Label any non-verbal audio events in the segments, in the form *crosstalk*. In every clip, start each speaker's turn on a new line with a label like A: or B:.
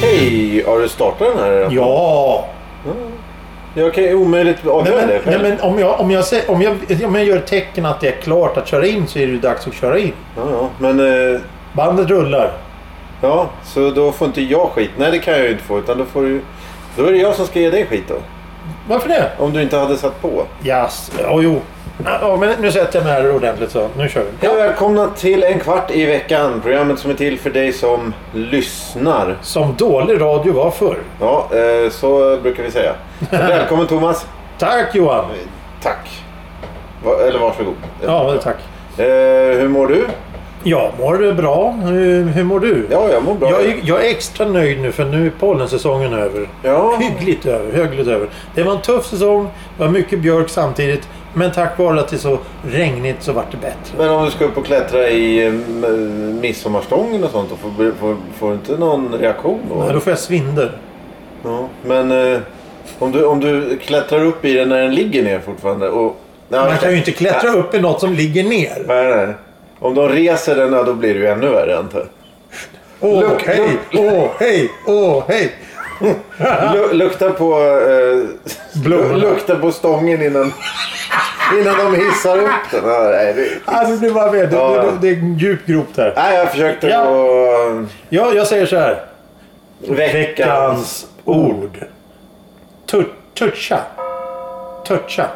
A: Hej! Har du startat den här?
B: Ja!
A: Jag kan ju omöjligt
B: Nej,
A: avgöra
B: men,
A: det
B: nej,
A: själv.
B: men om, jag, om, jag, sä- om, jag, om jag gör tecken att det är klart att köra in så är det ju dags att köra in.
A: Ja, ja. men eh,
B: Bandet rullar.
A: ja, så då får inte jag skit. Nej, det kan jag ju inte få. Utan då, får du, då är det jag som ska ge dig skit då.
B: Varför det?
A: Om du inte hade satt på.
B: Yes. Ja, jo. Ja, men nu sätter jag mig här ordentligt så. Nu kör vi.
A: Hej och välkomna till En kvart i veckan. Programmet som är till för dig som lyssnar.
B: Som dålig radio var förr.
A: Ja, eh, så brukar vi
B: *laughs*
A: säga. Välkommen Thomas.
B: Tack Johan!
A: Tack. Va, eller varsågod.
B: Ja, men tack.
A: Eh, hur mår du?
B: Jag mår bra. Hur, hur mår du?
A: Ja, jag mår bra.
B: Jag, är- jag är extra nöjd nu för nu är pollensäsongen över.
A: Ja.
B: Hyggligt över, hyggligt över. Det var en tuff säsong, det var mycket björk samtidigt. Men tack vare att det är så regnigt så vart det bättre.
A: Men om du ska upp och klättra i eh, m- midsommarstången och sånt, då får, får, får du inte någon reaktion då?
B: Ja, då får jag svindel.
A: Ja, men eh, om, du, om du klättrar upp i den när den ligger ner fortfarande och... Nej,
B: Man
A: okej.
B: kan ju inte klättra
A: Nej,
B: upp i något som ligger ner.
A: Nej, nej. Om de reser den, ja, då blir det ju ännu värre antar jag.
B: Åh
A: Look,
B: hej, åh hej, åh hej.
A: Lu- Lukta på... Eh, *laughs*
B: Blommorna.
A: lukta på stången innan, innan de hissar upp den. Ja, nej, det,
B: Alltså du bara vet, det,
A: Ja.
B: det, det är en djup grop där.
A: nej, jag försökte
B: Ja.
A: att...
B: Ja, jag säger så här.
A: Veckans...
B: Veckans ord. Tu- Toucha. Toucha.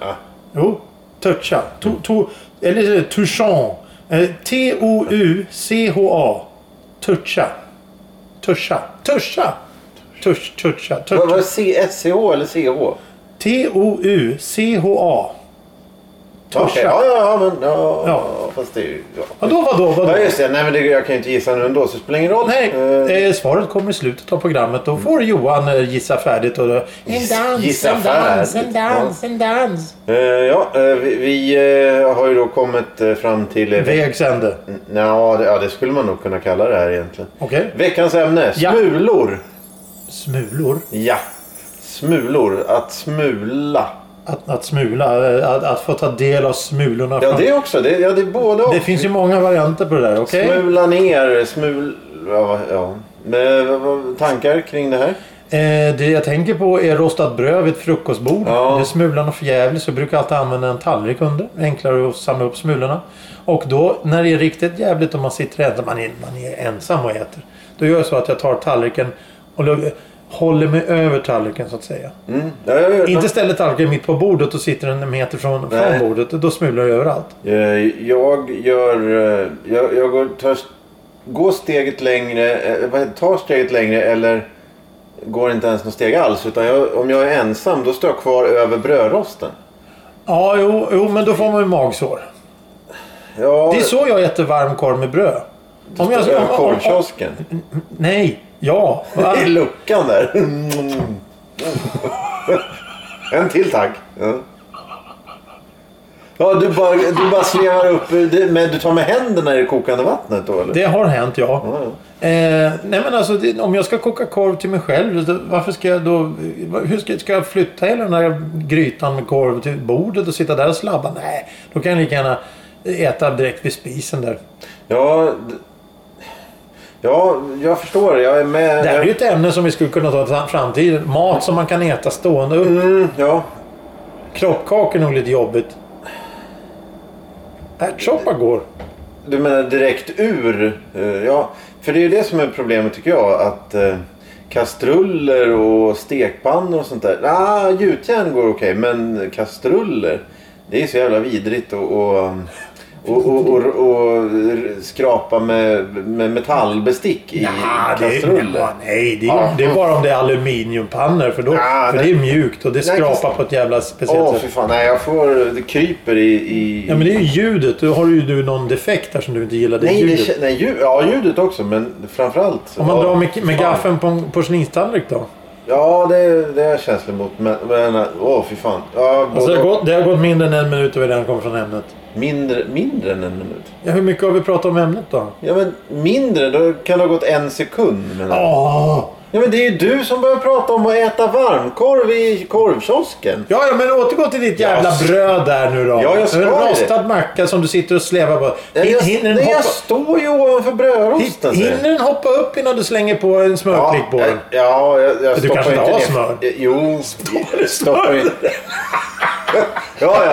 A: Ja.
B: Jo, toucha. To, to, eller touchant. Eh, T-O-U-C-H-A. Toucha. Toucha. Toucha. Touch, toucha.
A: Vad var
B: toucha.
A: det? C- SCH eller CH?
B: T-O-U-C-H-A. Toucha.
A: Okej, ja, ja, ja, men... Ja,
B: Ja.
A: Fast det är ju... Ja.
B: Vadå, vadå, vadå?
A: Ja just det, nej men det, jag kan ju inte gissa nu ändå så det spelar ingen roll.
B: Nej,
A: Eh,
B: eh, svaret kommer i slutet av programmet. Då får Johan eh, gissa färdigt. Och, en dans,
A: gissa
B: en dans,
A: färdigt.
B: en dans, en dans.
A: Eh, ja, eh, vi, vi eh, har ju då kommit eh, fram till... Eh, ve-
B: Vägs ände.
A: Nja, det, ja, det skulle man nog kunna kalla det här egentligen.
B: Okej.
A: Veckans ämne,
B: Ja.
A: smulor.
B: Smulor.
A: Ja. Smulor, att smula.
B: Att, att smula. eh, Att, att få ta del av smulorna.
A: Ja,
B: från-
A: det också. Det, ja, det är både och.
B: det finns ju många varianter på det där. Okej?
A: Smula ner, smul... Ja, va- ja. Men, eh, vad- vad- tankar kring det här?
B: Eh, det jag tänker på är rostat bröd vid ett frukostbord.
A: Ja.
B: Det är smulan och förjävligt så jag brukar alltid använda en tallrik under. Enklare att samla upp smulorna. Och då när det är riktigt jävligt och man sitter ensam, man är, man är ensam och äter. Då gör jag så att jag tar tallriken och lo- håller mig över tallriken så att säga.
A: Mm. Ja, jag har hört
B: Inte ställer tallriken mitt på bordet och sitter en meter från,
A: Nej.
B: från bordet. Då smular jag överallt.
A: Eh, Jag gör... eh, Jag, jag går, tar, går steget längre, eh, vad heter- tar steget längre eller går inte ens något steg alls. Utan jag, om jag är ensam då står jag kvar över brödrosten.
B: Ja, jo, jo men då får man ju magsår.
A: Ja,
B: Det är så jag äter varm korv med bröd. Om jag,
A: över
B: om, om, om, *laughs*
A: korvkiosken.
B: nej,
A: *laughs*
B: ja.
A: I luckan där. *laughs* Mm. en till tack. Ja. Ja, du bara, du bara slevar upp, eh, det- men du tar med händerna i det kokande vattnet då eller?
B: Det har hänt, ja.
A: Ja, ja.
B: Eh, nej men alltså, det, om jag ska koka korv till mig själv, då, varför ska jag då... va- Hur ska, ska jag flytta hela den här grytan med korv till bordet och sitta där och slabba? Nej, då kan jag lika gärna äta direkt vid spisen där.
A: Ja, d- ja, jag förstår. Jag är med.
B: Det här är ju ett ämne som vi skulle kunna ta fram framtiden. Mat som man kan äta stående upp.
A: mm, ja.
B: Kroppkakor är nog lite jobbigt. Ärtsoppa går.
A: Du menar direkt ur? eh, Ja, för det är ju det som är problemet tycker jag. Att eh, kastruller och stekpannor och sånt där. Ah, gjutjärn går okej, men kastruller. Det är så jävla vidrigt och... och och, och, och, och skrapa med, med metallbestick i
B: Nja, det är,
A: kastruller.
B: ja, nej, det är,
A: Ja.
B: det är bara om det är aluminiumpannor. För, då,
A: Ja,
B: för
A: det-
B: det är mjukt och det
A: Nej,
B: skrapar
A: fast-
B: på ett jävla speciellt
A: Åh,
B: sätt.
A: fy fan. Nej, jag får... Det kryper i... i...
B: Ja men det är ju ljudet. Då har ju du någon defekt där som du inte gillar. Det är
A: Nej, det,
B: ljudet.
A: kä- nej ljud, ja, ljudet också, men framförallt... så-
B: Om man
A: ja,
B: drar med, med
A: fan.
B: gaffeln på en porslinstallrik då?
A: Ja, det, det är jag känslig mot. Men, men åh, fy fan. Ja,
B: Alltså det,
A: både-
B: har gått, det har gått mindre än en minut och vi redan kommer från ämnet.
A: Mindre, mindre än en minut?
B: Ja, hur mycket har vi pratat om ämnet då?
A: Ja, men mindre? Då kan det ha gått en sekund. Men...
B: Åh!
A: Ja, men det är ju du som börjar prata om att äta varmkorv i korvkiosken.
B: Ja, ja, men återgå till ditt
A: Ja,
B: jävla
A: s-
B: bröd där nu då.
A: Ja, jag ska
B: en
A: det.
B: rostad macka som du sitter och slevar på.
A: Nej,
B: Hin,
A: jag,
B: hinner, den
A: nej, jag
B: hoppa,
A: står ju ovanför brödrosten.
B: hin- hinner den hoppa upp innan du slänger på en smörklick på den?
A: eh, Ja, jag, jag stoppar
B: kanske inte har
A: ner- Eh,
B: smör?
A: Jo, stoppar, stoppar in. *laughs* ja, ja.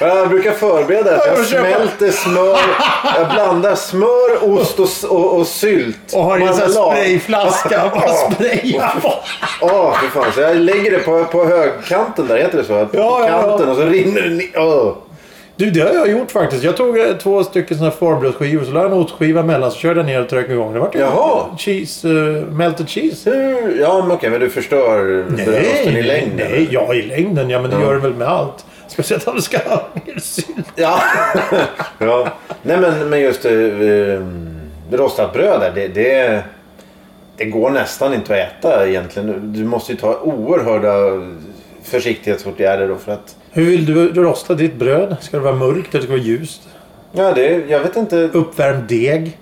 A: Jag brukar förbereda det. Jag
B: Jag köper.
A: smälter smör. Jag blandar smör, ost och, s- och, och sylt.
B: Och har i en sån här
A: Marmelad. *laughs*
B: sprayflaska. Bara
A: Ja.
B: sprayar på.
A: Ja, för fan. Så jag lägger det på, på högkanten där. Heter det så? På
B: Ja, ja, ja.
A: kanten och så rinner det ner. Åh.
B: Du, det har jag gjort faktiskt. Jag tog eh, två stycken såna här farbrödsskivor. Så la jag en ostskiva mellan. Så körde jag ner och tröck igång. Det vart ju
A: Jaha.
B: cheese, eh, melted cheese.
A: Hur? Ja, men okej. Men du förstör brödrosten i längden.
B: Nej, ja i längden. Ja, men det gör det väl med allt. Speciellt om du ska ha mer sylt.
A: Ja. *laughs* ja. Nej men, men just eh, eh, rostat bröd där, det, det, det går nästan inte att äta egentligen. Du måste ju ta oerhörda försiktighetsåtgärder då för att...
B: Hur vill du rosta ditt bröd? Ska det vara mörkt eller ska det vara ljust?
A: Ja, det, jag vet inte.
B: Uppvärmd deg?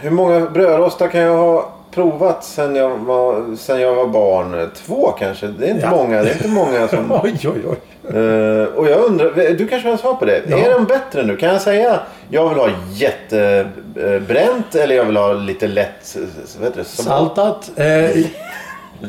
A: Hur många brödrostar kan jag ha provat sen jag var, sen jag var barn? Två kanske? Det är inte
B: Ja.
A: många. Det är inte många
B: *laughs*
A: som...
B: Oj, oj, oj.
A: Eh, och jag undrar, du kanske har svar på det.
B: Ja.
A: Är de bättre nu? Kan jag säga jag vill ha jättebränt eller jag vill ha lite lätt... eh, Vad heter det? Som-
B: Saltat? Eh,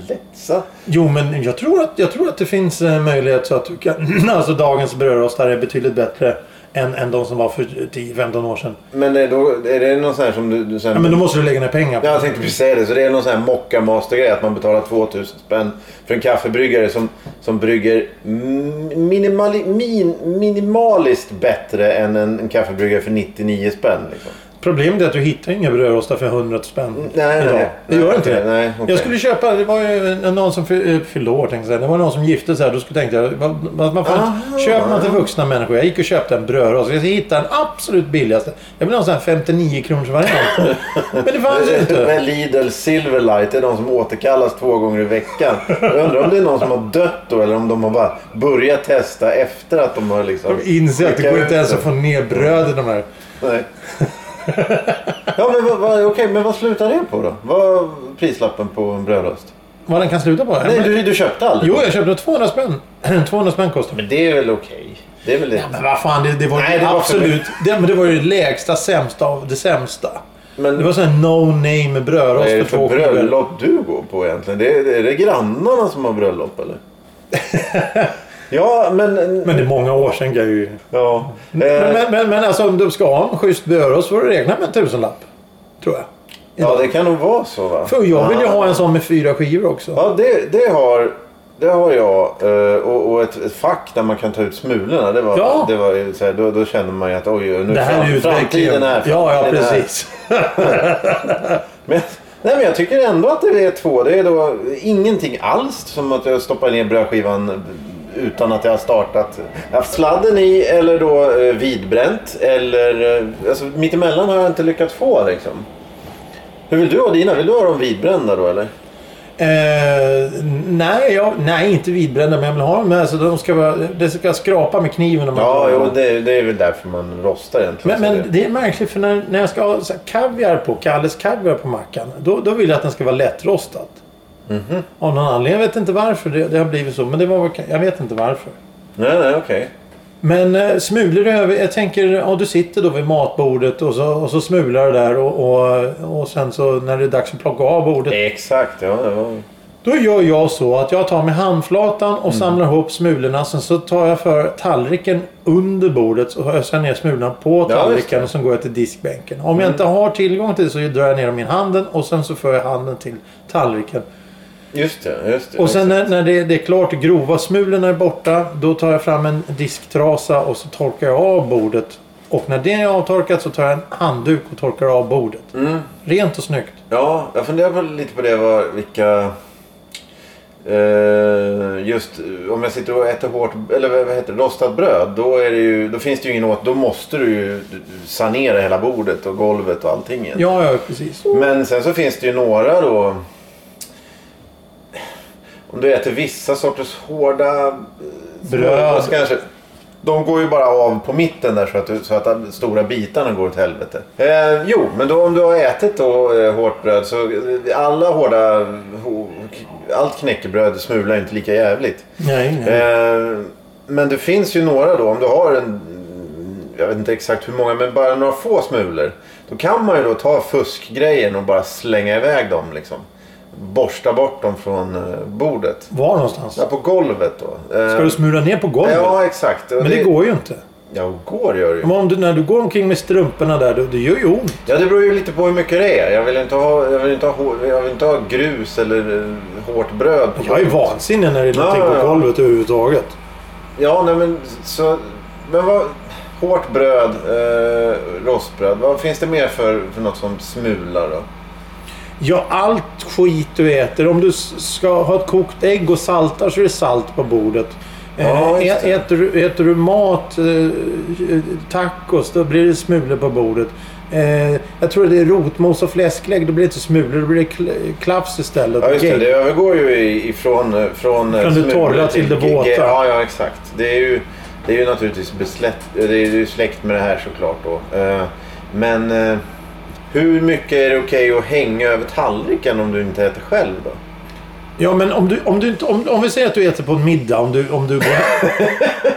A: Lättsa?
B: jo, men jag tror, att, jag tror att det finns eh, möjlighet så att du kan... *clears throat* alltså dagens brödrostare är betydligt bättre än, än de som var för 10-15 år sedan.
A: Men är, då, är det någon sån här som du... du sen,
B: Ja, men då måste du lägga ner pengar på
A: Ja,
B: det.
A: jag tänkte precis säga det. Så det är någon sån här mockamastergrej att man betalar 2000 spänn för en kaffebryggare som, som brygger m- minimali, min, minimaliskt bättre än en, en kaffebryggare för 99 spänn. Liksom.
B: Problemet är att du hittar inga brödrostar för 100 spänn
A: Nej,
B: idag.
A: nej,
B: det gör
A: nej,
B: inte
A: okej,
B: det.
A: nej, okej.
B: Jag skulle köpa, det var ju en- någon som fy- eh, fyllde år tänkte jag säga. Det var någon som gifte sig. Då skulle tänkte jag, vad- vad- man får,
A: Aha.
B: köper man till vuxna människor. Jag gick och köpte en brödrost. Jag hittade den absolut billigaste. Jag vill ha en sån här 59 kronors variant. Men
A: *laughs*
B: det fanns ju inte.
A: Men Lidl Silverlight det är de som återkallas två gånger i veckan. Jag undrar om det är någon som har dött då eller om de har bara börjat testa efter att de har liksom...
B: De inser att det går inte ens att få ner bröd i de här.
A: Nej. Ja men vad, vad, okej, men vad slutar det på då? Vad är prislappen på en brödrost?
B: Vad den kan sluta på?
A: Nej, du, du köpte aldrig?
B: Jo, jag köpte den 200 spänn. *clears throat* 200 spänn kostar den.
A: Men det är väl okej? Det är väl det?
B: Men vad fan, det, det var ju
A: Nej, det var för
B: absolut... Det, men det var ju det lägsta sämsta av det sämsta.
A: Men-
B: det var sån här no-name brödrost
A: Vad är
B: för
A: det för
B: två skivor.
A: bröllop du går på egentligen? Det är, är det grannarna som har bröllop
B: *laughs*
A: eller? ja, men...
B: Men det är många år sedan kan jag ju...
A: ja. eh,
B: Men, men, men, men alltså om du ska ha en schysst brödrost får du räkna med en tusenlapp. Tror jag.
A: Ja, det kan nog vara så va?
B: För jag vill ju
A: Ja.
B: ha en sån med fyra skivor också.
A: Ja, det, det, har, det har jag. eh, Och, och ett, ett fack där man kan ta ut smulorna. Det var,
B: Ja.
A: det var ju så här, då, då känner man ju att oj, nu
B: Det här är ju
A: framtiden
B: utvecklingen.
A: är.
B: Ja, ja
A: framtiden är.
B: precis.
A: Men, nej, men jag tycker ändå att det är två. Det är då ingenting alls som att jag stoppar ner brödskivan utan att jag har startat. Jag har haft sladden i eller då eh, vidbränt. Eller, eh, alltså, mittemellan har jag inte lyckats få liksom. Hur vill du ha dina? Vill du ha dem vidbrända då eller?
B: Eh, nej, jag, nej, inte vidbrända men jag vill ha dem med. Så de ska, vara- det ska skrapa med kniven. Om man
A: Ja,
B: tar dem.
A: jo, det, det är väl därför man rostar egentligen. Alltså,
B: Men, men det är märkligt för när, när jag ska ha så här kaviar på, Kalles kaviar på mackan. Då, då vill jag att den ska vara lättrostad. Av någon anledning. Jag vet inte varför det, det har blivit så. Men det var, väl- jag vet inte varför.
A: Nej, nej, okej.
B: Men eh, smulor över. Jag tänker, ja, du sitter då vid matbordet och så, och så smular du där. Och, och, och sen så när det är dags att plocka av bordet.
A: Exakt, ja. ja.
B: Då gör jag så att jag tar med handflatan
A: Mm.
B: och samlar ihop smulorna. Sen så tar jag för tallriken under bordet och öser ner smulorna på
A: Ja, just
B: tallriken
A: det. Mm.
B: och sen går jag till diskbänken. Om jag inte har tillgång till det så drar jag ner dem i handen och sen så för jag handen till tallriken.
A: Just det, just det.
B: Och sen när, när det, det är klart, de grova smulorna är borta, då tar jag fram en disktrasa och så torkar jag av bordet. Och när det är avtorkat så tar jag en handduk och torkar av bordet.
A: Mm.
B: Rent och snyggt.
A: Ja, jag funderar på, lite på det vad, vilka... Eh, just eh, om jag sitter och äter hårt, eller vad vad heter det, rostat bröd. Då, är det ju, då finns det ju ingen åt, då måste du ju sanera hela bordet och golvet och allting. egentligen.
B: Ja, ja, precis.
A: Men sen så finns det ju några då... Om du äter vissa sorters hårda eh,
B: Bröd.
A: smörgås kanske. De går ju bara av på mitten där så att, du- så att de stora bitarna går åt helvete. Eh, jo, men då om du har ätit då, eh, hårt bröd så eh, alla hårda... ho- k- Allt knäckebröd smular inte lika jävligt.
B: Nej, nej.
A: Eh, men det finns ju några då. Om du har en... Jag vet inte exakt hur många, men bara några få smulor. Då kan man ju då ta fuskgrejen och bara slänga iväg dem liksom. Borsta bort dem från eh, bordet.
B: Var någonstans?
A: Ja, på golvet då. Eh,
B: Ska du smula ner på golvet?
A: Ja, exakt. Och
B: Men det går ju inte.
A: Ja, går gör det ju.
B: Men om du, när du går omkring med strumporna där, det, det gör ju ont.
A: Ja, det beror ju lite på hur mycket det är. Jag vill inte ha, jag vill inte ha, hår- jag vill inte ha grus eller eh, hårt bröd. på
B: Jag är
A: golvet.
B: vansinnig när det är någonting
A: Ja, ja, ja.
B: på golvet överhuvudtaget.
A: Ja, nej men så... Men vad... Hårt bröd, eh, rostbröd. Vad finns det mer för, för något som smular då?
B: Ja, allt skit du äter. Om du s- ska ha ett kokt ägg och saltar så är det salt på bordet.
A: Ja,
B: Eh,
A: just det.
B: ä- äter, du- äter du mat, eh, tacos, då blir det smulor på bordet. Eh, jag tror det är rotmos och fläsklägg, då blir det inte smulor, då blir det kl- klaffs istället.
A: Ja, just det.
B: Gegg.
A: Det övergår ju i- ifrån eh, från eh,
B: Från det
A: smulor
B: torra till det
A: ge- ge-
B: våta.
A: Ja, ja, exakt. Det är ju, det är ju naturligtvis besläkt, det är ju släkt med det här såklart då. Eh, Men eh, hur mycket är det okej att hänga över tallriken om du inte äter själv då?
B: Ja, men om, du, om, du inte, om, om vi säger att du äter på en middag, om du, om du går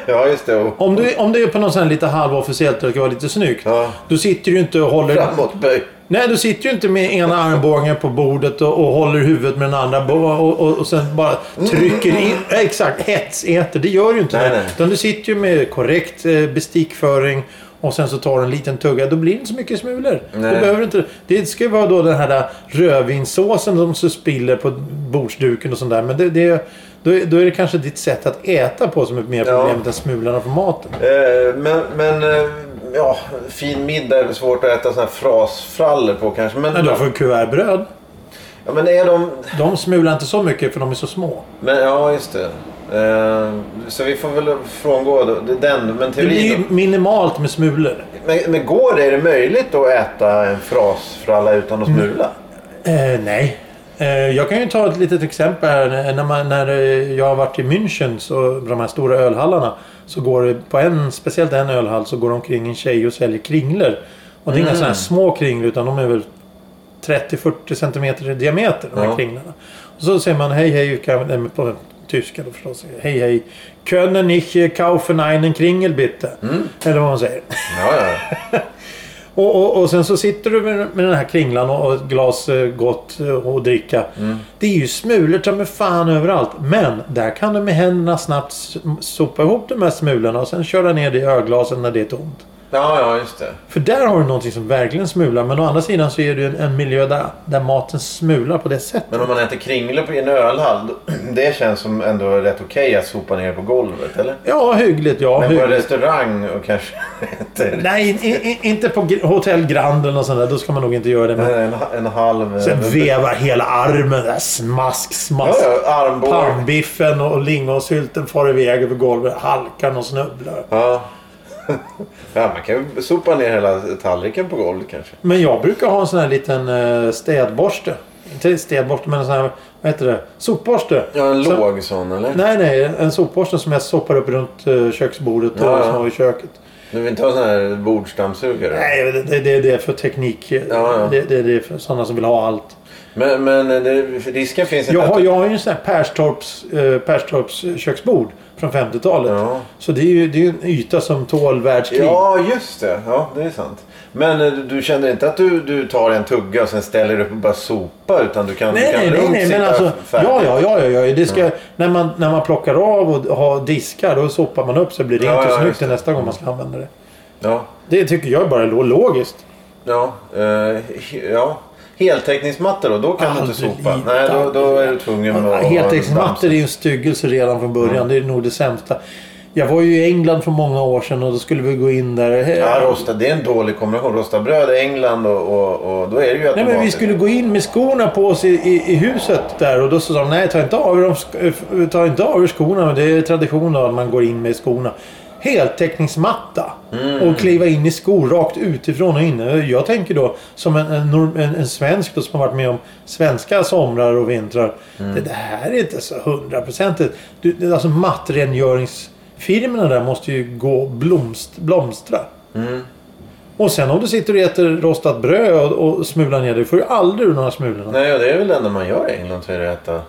A: Ja, just det. Och *laughs*
B: Om du, om du är på något sånt här lite halvofficiellt och det ska vara lite snyggt.
A: Ja.
B: Då sitter du ju inte och håller...
A: framåtböj.
B: Nej, du sitter ju inte med ena armbågen på bordet och, och håller huvudet med den andra bo- och, och, och sen bara trycker in. Ja, Exakt, hetsäter. Det gör du ju inte.
A: Mm. Nej, nej.
B: Utan du sitter ju med korrekt eh, bestickföring och sen så tar du en liten tugga. Då blir det inte så mycket smulor. Du
A: Nej.
B: behöver inte, det ska ju vara då den här rödvinssåsen som så spiller på bordsduken och sånt där. Men det, det, då, är- då är det kanske ditt sätt att äta på som är mer
A: Ja.
B: problemet än smulorna på maten.
A: Eh, Men, men eh, ja, fin middag är väl svårt att äta såna här frasfrallor på kanske. Men,
B: Nej, du får kuvertbröd.
A: ja, men är de...
B: De smular inte så mycket för de är så små.
A: Men, ja, just det. Eh, Så vi får väl frångå då, det- den. Men
B: Det blir
A: teorin...
B: ju minimalt med smulor.
A: Men, men går det? Är det möjligt att äta en frasfralla utan
B: Mm.
A: att smula?
B: Eh, nej. Eh, jag kan ju ta ett litet exempel. här. När, man, när eh, jag har varit i München, så, på de här stora ölhallarna, så går det på en, speciellt en ölhall, så går det omkring en tjej och säljer kringlor. Och det är inga sådana här små kringlor, utan de är väl 30-40 centimeter i diameter, de här
A: Ja.
B: kringlorna. Och så säger man hej hej, kan- nej, men på tyska då förstås. Hej hej, können ich äh, kaufen einen Kringel bitte? Eller vad man säger.
A: Ja, ja.
B: Och, och, och sen så sitter du med, med den här kringlan och, och ett glas eh, gott eh, och dricka.
A: Mm.
B: Det är ju smulor ta mig fan överallt. Men där kan du med händerna snabbt s- sopa ihop de här smulorna och sen köra ner det i ölglasen när det är tomt.
A: Ja, ja, just det.
B: För där har du någonting som verkligen smular. Men å andra sidan så är det ju en, en miljö där, där maten smular på det sättet.
A: Men om man äter kringlor på en ölhall, då- det känns som ändå rätt okej att sopa ner på golvet, eller?
B: Ja, hyggligt. Ja,
A: Men på en
B: hyggligt.
A: restaurang och kanske äter
B: Nej, i, i, inte på Gr- Hotell Grand eller något sånt där. Då ska man nog inte göra det. Men
A: en, en halv...
B: sen veva hela armen där. Smask,
A: Ja,
B: smask.
A: ja, armbåge.
B: Pannbiffen och lingonsylten far iväg över golvet, halkar och snubblar. *laughs*
A: Ja. ja, man kan ju sopa ner hela tallriken på golvet kanske.
B: Men jag brukar ha en sån här liten eh, städborste. Inte städborste, men en sån här, vad heter det? Sopborste.
A: Ja, en
B: Så-
A: låg sån eller?
B: Nej, nej. En sopborste som jag soppar upp runt eh, köksbordet och
A: Ja, ja.
B: som har i köket.
A: Du vill inte ha sån här bordsdammsugare?
B: Nej, det, det, det, det är för teknik. eh,
A: ja.
B: Det, det, det är för sådana som vill ha allt.
A: Men, men eh, det, för risken finns inte
B: Jag har,
A: att...
B: jag har ju en sån här Perstorps, eh, Perstorps köksbord från 50-talet.
A: Ja.
B: Så det är ju det är ju en yta som tål världskrig.
A: Ja, just det. Ja, det är sant. Men eh, du- du känner inte att du, du tar en tugga och sen ställer upp och bara sopa utan du kan, du
B: Nej,
A: kan
B: nej, nej,
A: lugnt
B: nej men
A: sitta
B: alltså.
A: färdigt?
B: Ja, ja, ja, ja, ja. Det ska, när, man, när man plockar av och har diskar då sopar man upp så blir det
A: Ja, ja,
B: inte och snyggt
A: just det.
B: till nästa gång man ska använda det.
A: ja.
B: Det tycker jag bara är lo- logiskt.
A: Ja, eh, he- ja. Heltäckningsmattor då, då kan du inte
B: Aldrig
A: sopa.
B: i-
A: Nej, då, då är du tvungen att ha en
B: Heltäckningsmattor är
A: dammsug-
B: ju en styggelse redan från början. Det är nog det sämsta. Jag var ju i England för många år sedan och då skulle vi gå in där.
A: Ja, rosta, det är en dålig kombination. Rosta bröd i England och, och, och då är det ju
B: Nej, men vi skulle gå in med skorna på oss i, i, i huset där och då sa de nej, ta inte av er, de sk- eh, ta inte av er skorna. Men det är tradition då att man går in med skorna. Heltäckningsmatta och kliva in i skor rakt utifrån och in. Jag tänker då som en, en, norm- en, en svensk då, som har varit med om svenska somrar och vintrar. Det, det här är inte så hundraprocentigt. Du- det är Alltså mattrengörings... Firmorna där måste ju gå blomst, blomstra. Och sen om du sitter och äter rostat bröd och, och smular ner det får du aldrig ur några smulorna.
A: Nej, och det är väl det enda man gör i England så är det att äta... eh,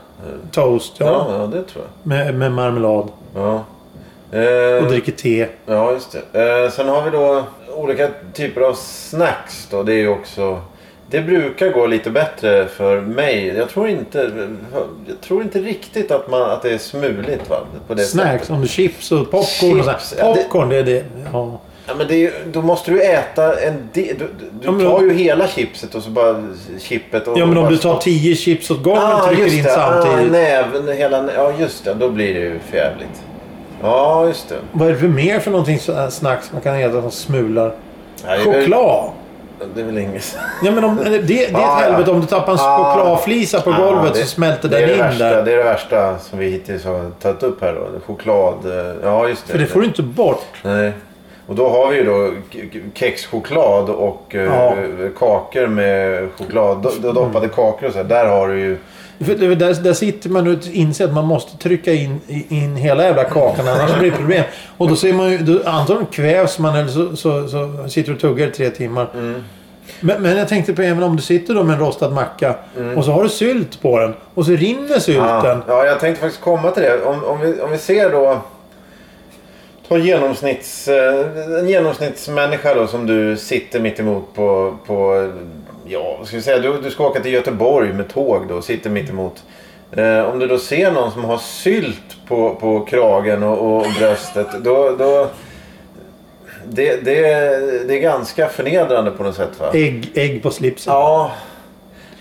B: Toast, ja.
A: Ja, ja, det tror jag.
B: Med, med marmelad.
A: Ja.
B: Och
A: Eh,
B: dricker te.
A: ja, just det. Eh, sen har vi då olika typer av snacks då. Det är ju också... Det brukar gå lite bättre för mig. Jag tror inte, jag tror inte riktigt att, man, att det är smuligt va? På det sättet.
B: Snacks, om du chips och popcorn. och
A: Chips,
B: sånt.
A: ja, det-
B: popcorn, det är det. Ja.
A: Ja, men det är, ju- då måste du äta en del. Du, du
B: Ja, men-
A: tar ju hela chipset och så bara chippet. Och
B: ja, men om
A: bara
B: du tar tio chips åt gången och
A: ah,
B: trycker
A: just
B: in
A: det. Ah,
B: samtidigt.
A: näven, hela, nä- ja, just det. Då blir det ju för jävligt. Ja, just det.
B: Vad är det för mer för någonting så här snacks man kan äta som smular?
A: Nej, det är väl-
B: Choklad!
A: Det är väl inget.
B: Ja, men om, det, det är ett
A: Ah, ja.
B: helvete om du tappar en
A: Ah.
B: chokladflisa på golvet så smälter
A: det är
B: den
A: det
B: in
A: värsta,
B: där.
A: Det är det värsta som vi hittills har tagit upp här då. Choklad. eh, Ja, just det.
B: För det får du inte bort.
A: Nej. Och då har vi ju då k- k- kexchoklad och eh,
B: Ja.
A: kakor med choklad. do- do- Doppade kakor och så. Här. Där har du ju...
B: För det- där, där sitter man och inser att man måste trycka in, i- in hela jävla kakan annars blir det problem. Och då ser man ju, då, antagligen kvävs man eller så, så, så sitter du och tuggar i tre timmar.
A: Mm.
B: Men, men jag tänkte på även om du sitter då med en rostad macka
A: Mm.
B: och så har du sylt på den och så rinner sylten.
A: Ja, ja, jag tänkte faktiskt komma till det. Om, om, vi, om vi ser då... Ta genomsnitts, eh, en genomsnittsmänniska då som du sitter mitt emot på... på ja, vad ska vi säga? Du, du ska åka till Göteborg med tåg då och sitter mitt emot. Eh, om du då ser någon som har sylt på, på kragen och, och, och bröstet. Då, då, det, det, det är ganska förnedrande på något sätt va?
B: Ägg, ägg på slipsen.
A: Ja.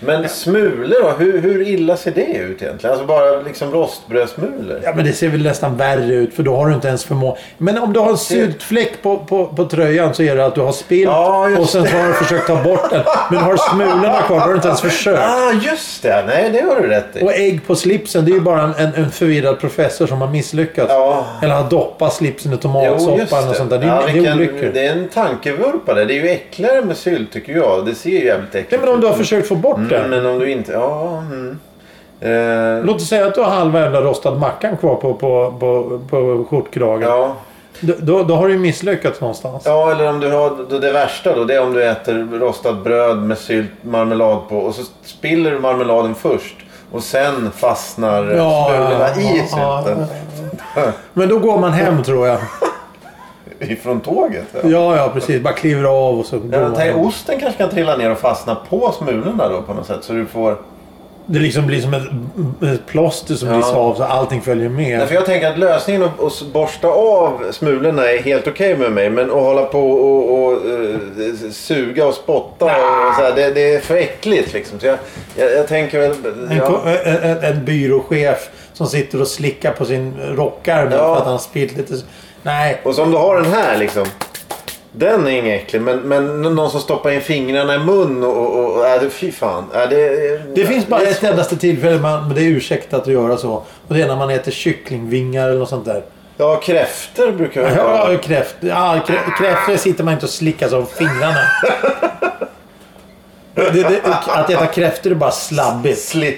A: Men smulor då? Hur, hur illa ser det ut egentligen? Alltså bara liksom rostbrödsmulor?
B: Ja men det ser väl nästan värre ut för då har du inte ens förmåga. Men om du har en syltfläck på, på, på tröjan så är det att du har spillt
A: Ja, just
B: och sen så har du försökt ta bort den. Men har du smulorna kvar då har du inte ens försökt.
A: Ah, just det! Nej, det har du rätt i.
B: Och ägg på slipsen det är ju bara en, en, en förvirrad professor som har misslyckats.
A: Ja.
B: Eller har doppat slipsen i tomatsoppan och sånt där. Det är,
A: Ja,
B: det är
A: vilken-
B: olyckor.
A: det är en tankevurpa där. Det är ju äckligare med sylt tycker jag. Det ser ju jävligt äckligt
B: Nej, men om du har försökt få bort
A: ut.
B: den.
A: Mm, men om du inte... Ja. Mm. Eh,
B: Låt oss säga att du har halva jävla rostad mackan kvar på, på, på, på skjortkragen.
A: ja.
B: Då, då, då har du ju misslyckats någonstans.
A: ja, eller om du har... då Det värsta då, det är om du äter rostat bröd med sylt, marmelad på och så spiller du marmeladen först. Och sen fastnar smulorna i sylten.
B: ja. Men då går man hem tror jag.
A: Ifrån tåget? Ja.
B: Ja, ja precis. Bara kliver av och så går
A: Ja,
B: man
A: tänk,
B: hem.
A: osten kanske kan trilla ner och fastna på smulorna då på något sätt. Så du får...
B: Det liksom blir som ett, ett plåster som rivs av så allting följer med.
A: Därför jag tänker att lösningen att, att borsta av smulorna är helt okej med mig. Men att hålla på och, och eh, suga och spotta och så här, det, det är för äckligt liksom. Så jag, jag, jag tänker väl...
B: En, ko-
A: Ja,
B: en, en, en byråchef som sitter och slickar på sin rockärm
A: Ja.
B: för att han har spillt lite. Nej.
A: och så om du har den här liksom. Den är ingen äcklig. Men, men någon som stoppar in fingrarna i mun och... och, och äh, det, fy fan. Äh, det,
B: Det finns bara
A: det är
B: ett endaste tillfälle man, men det är ursäktat att göra så. Och det är när man äter kycklingvingar eller något sånt där.
A: Ja, kräftor brukar jag
B: Ja, ja, kräft, ja, krä- kräftor sitter man inte och slickar sig om *laughs* fingrarna. Det, det, att äta kräftor är bara slabbigt.
A: Sli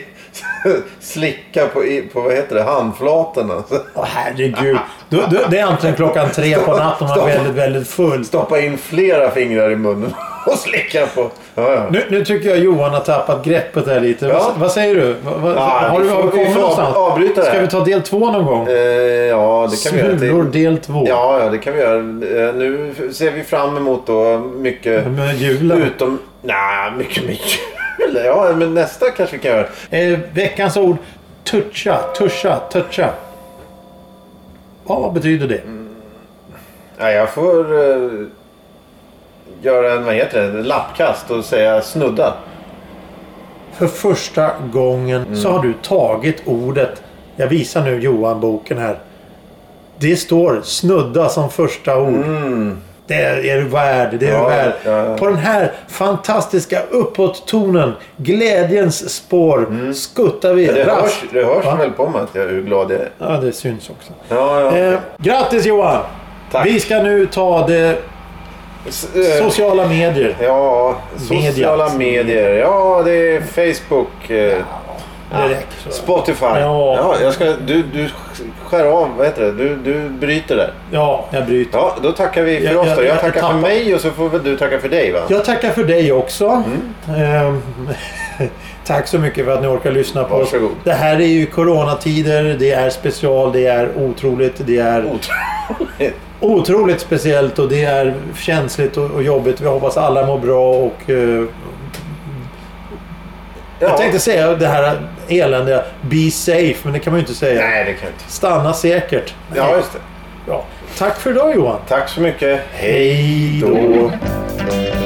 A: *laughs* slicka på, i- på vad heter det, handflatorna. *laughs*
B: Åh, herregud. Du, du, det är antingen klockan tre på natten och man är väldigt, väldigt full.
A: Stoppa in flera fingrar i munnen *laughs* och slicka på. Ja, ja.
B: Nu, nu tycker jag Johan har tappat greppet här lite.
A: Ja.
B: Vad, vad säger du? Vad- vad-
A: Ja,
B: har
A: vi
B: du har vi
A: får- vi
B: kommit
A: får
B: någonstans?
A: avbryta det här.
B: Ska vi ta del två någon gång?
A: Eh, ja, det kan vi göra.
B: Smulor
A: till-
B: del två.
A: Ja, ja, det kan vi göra. Eh, Nu ser vi fram emot då mycket
B: Med julen.
A: utom... Nej, mycket mycket. *laughs* Ja, men nästa kanske vi kan göra.
B: Eh, veckans ord. Toucha, toucha, toucha. Ja, vad betyder det?
A: Nej, jag får eh, göra en, vad heter det, en lappkast och säga snudda.
B: För första gången
A: Mm.
B: så har du tagit ordet. Jag visar nu Johan boken här. Det står snudda som första ord. Det är, är du värd. Det är
A: Mm. Ja,
B: du värd.
A: ja, ja.
B: På den här fantastiska uppåttonen, glädjens spår, skuttar vi.
A: Mm. Det
B: raskt.
A: hörs, det hörs
B: Va?
A: väl på mig att jag, hur glad jag är.
B: Ja, det syns också.
A: Ja, ja.
B: Eh, grattis Johan!
A: Tack.
B: Vi ska nu ta det
A: S- eh,
B: sociala medier.
A: Ja, sociala
B: Mediat.
A: medier. Ja, det är Facebook. eh,
B: Det räcker så.
A: Spotify.
B: Ja.
A: Ja, jag ska, du, du skär av, vad heter det? Du, du bryter där.
B: Ja, jag bryter.
A: Ja, då tackar vi för
B: Jag-
A: oss då.
B: jag-
A: Jag,
B: jag
A: tackar
B: tappar.
A: för mig och så får väl du tacka för dig va?
B: Jag tackar för dig också.
A: Mm.
B: Ehm, *laughs* Tack så mycket för att ni orkar lyssna på oss.
A: Varsågod.
B: Det här är ju coronatider, det är special, det är otroligt, det är
A: Otroligt.
B: otroligt speciellt och det är känsligt och, och jobbigt. Vi hoppas alla mår bra och eh,
A: Ja.
B: jag tänkte säga det här eländiga Be safe, men det kan man ju inte säga.
A: Nej, det kan jag inte.
B: Stanna säkert.
A: Ja, just det.
B: Ja. Tack för idag Johan.
A: Tack så mycket.
B: Hej då.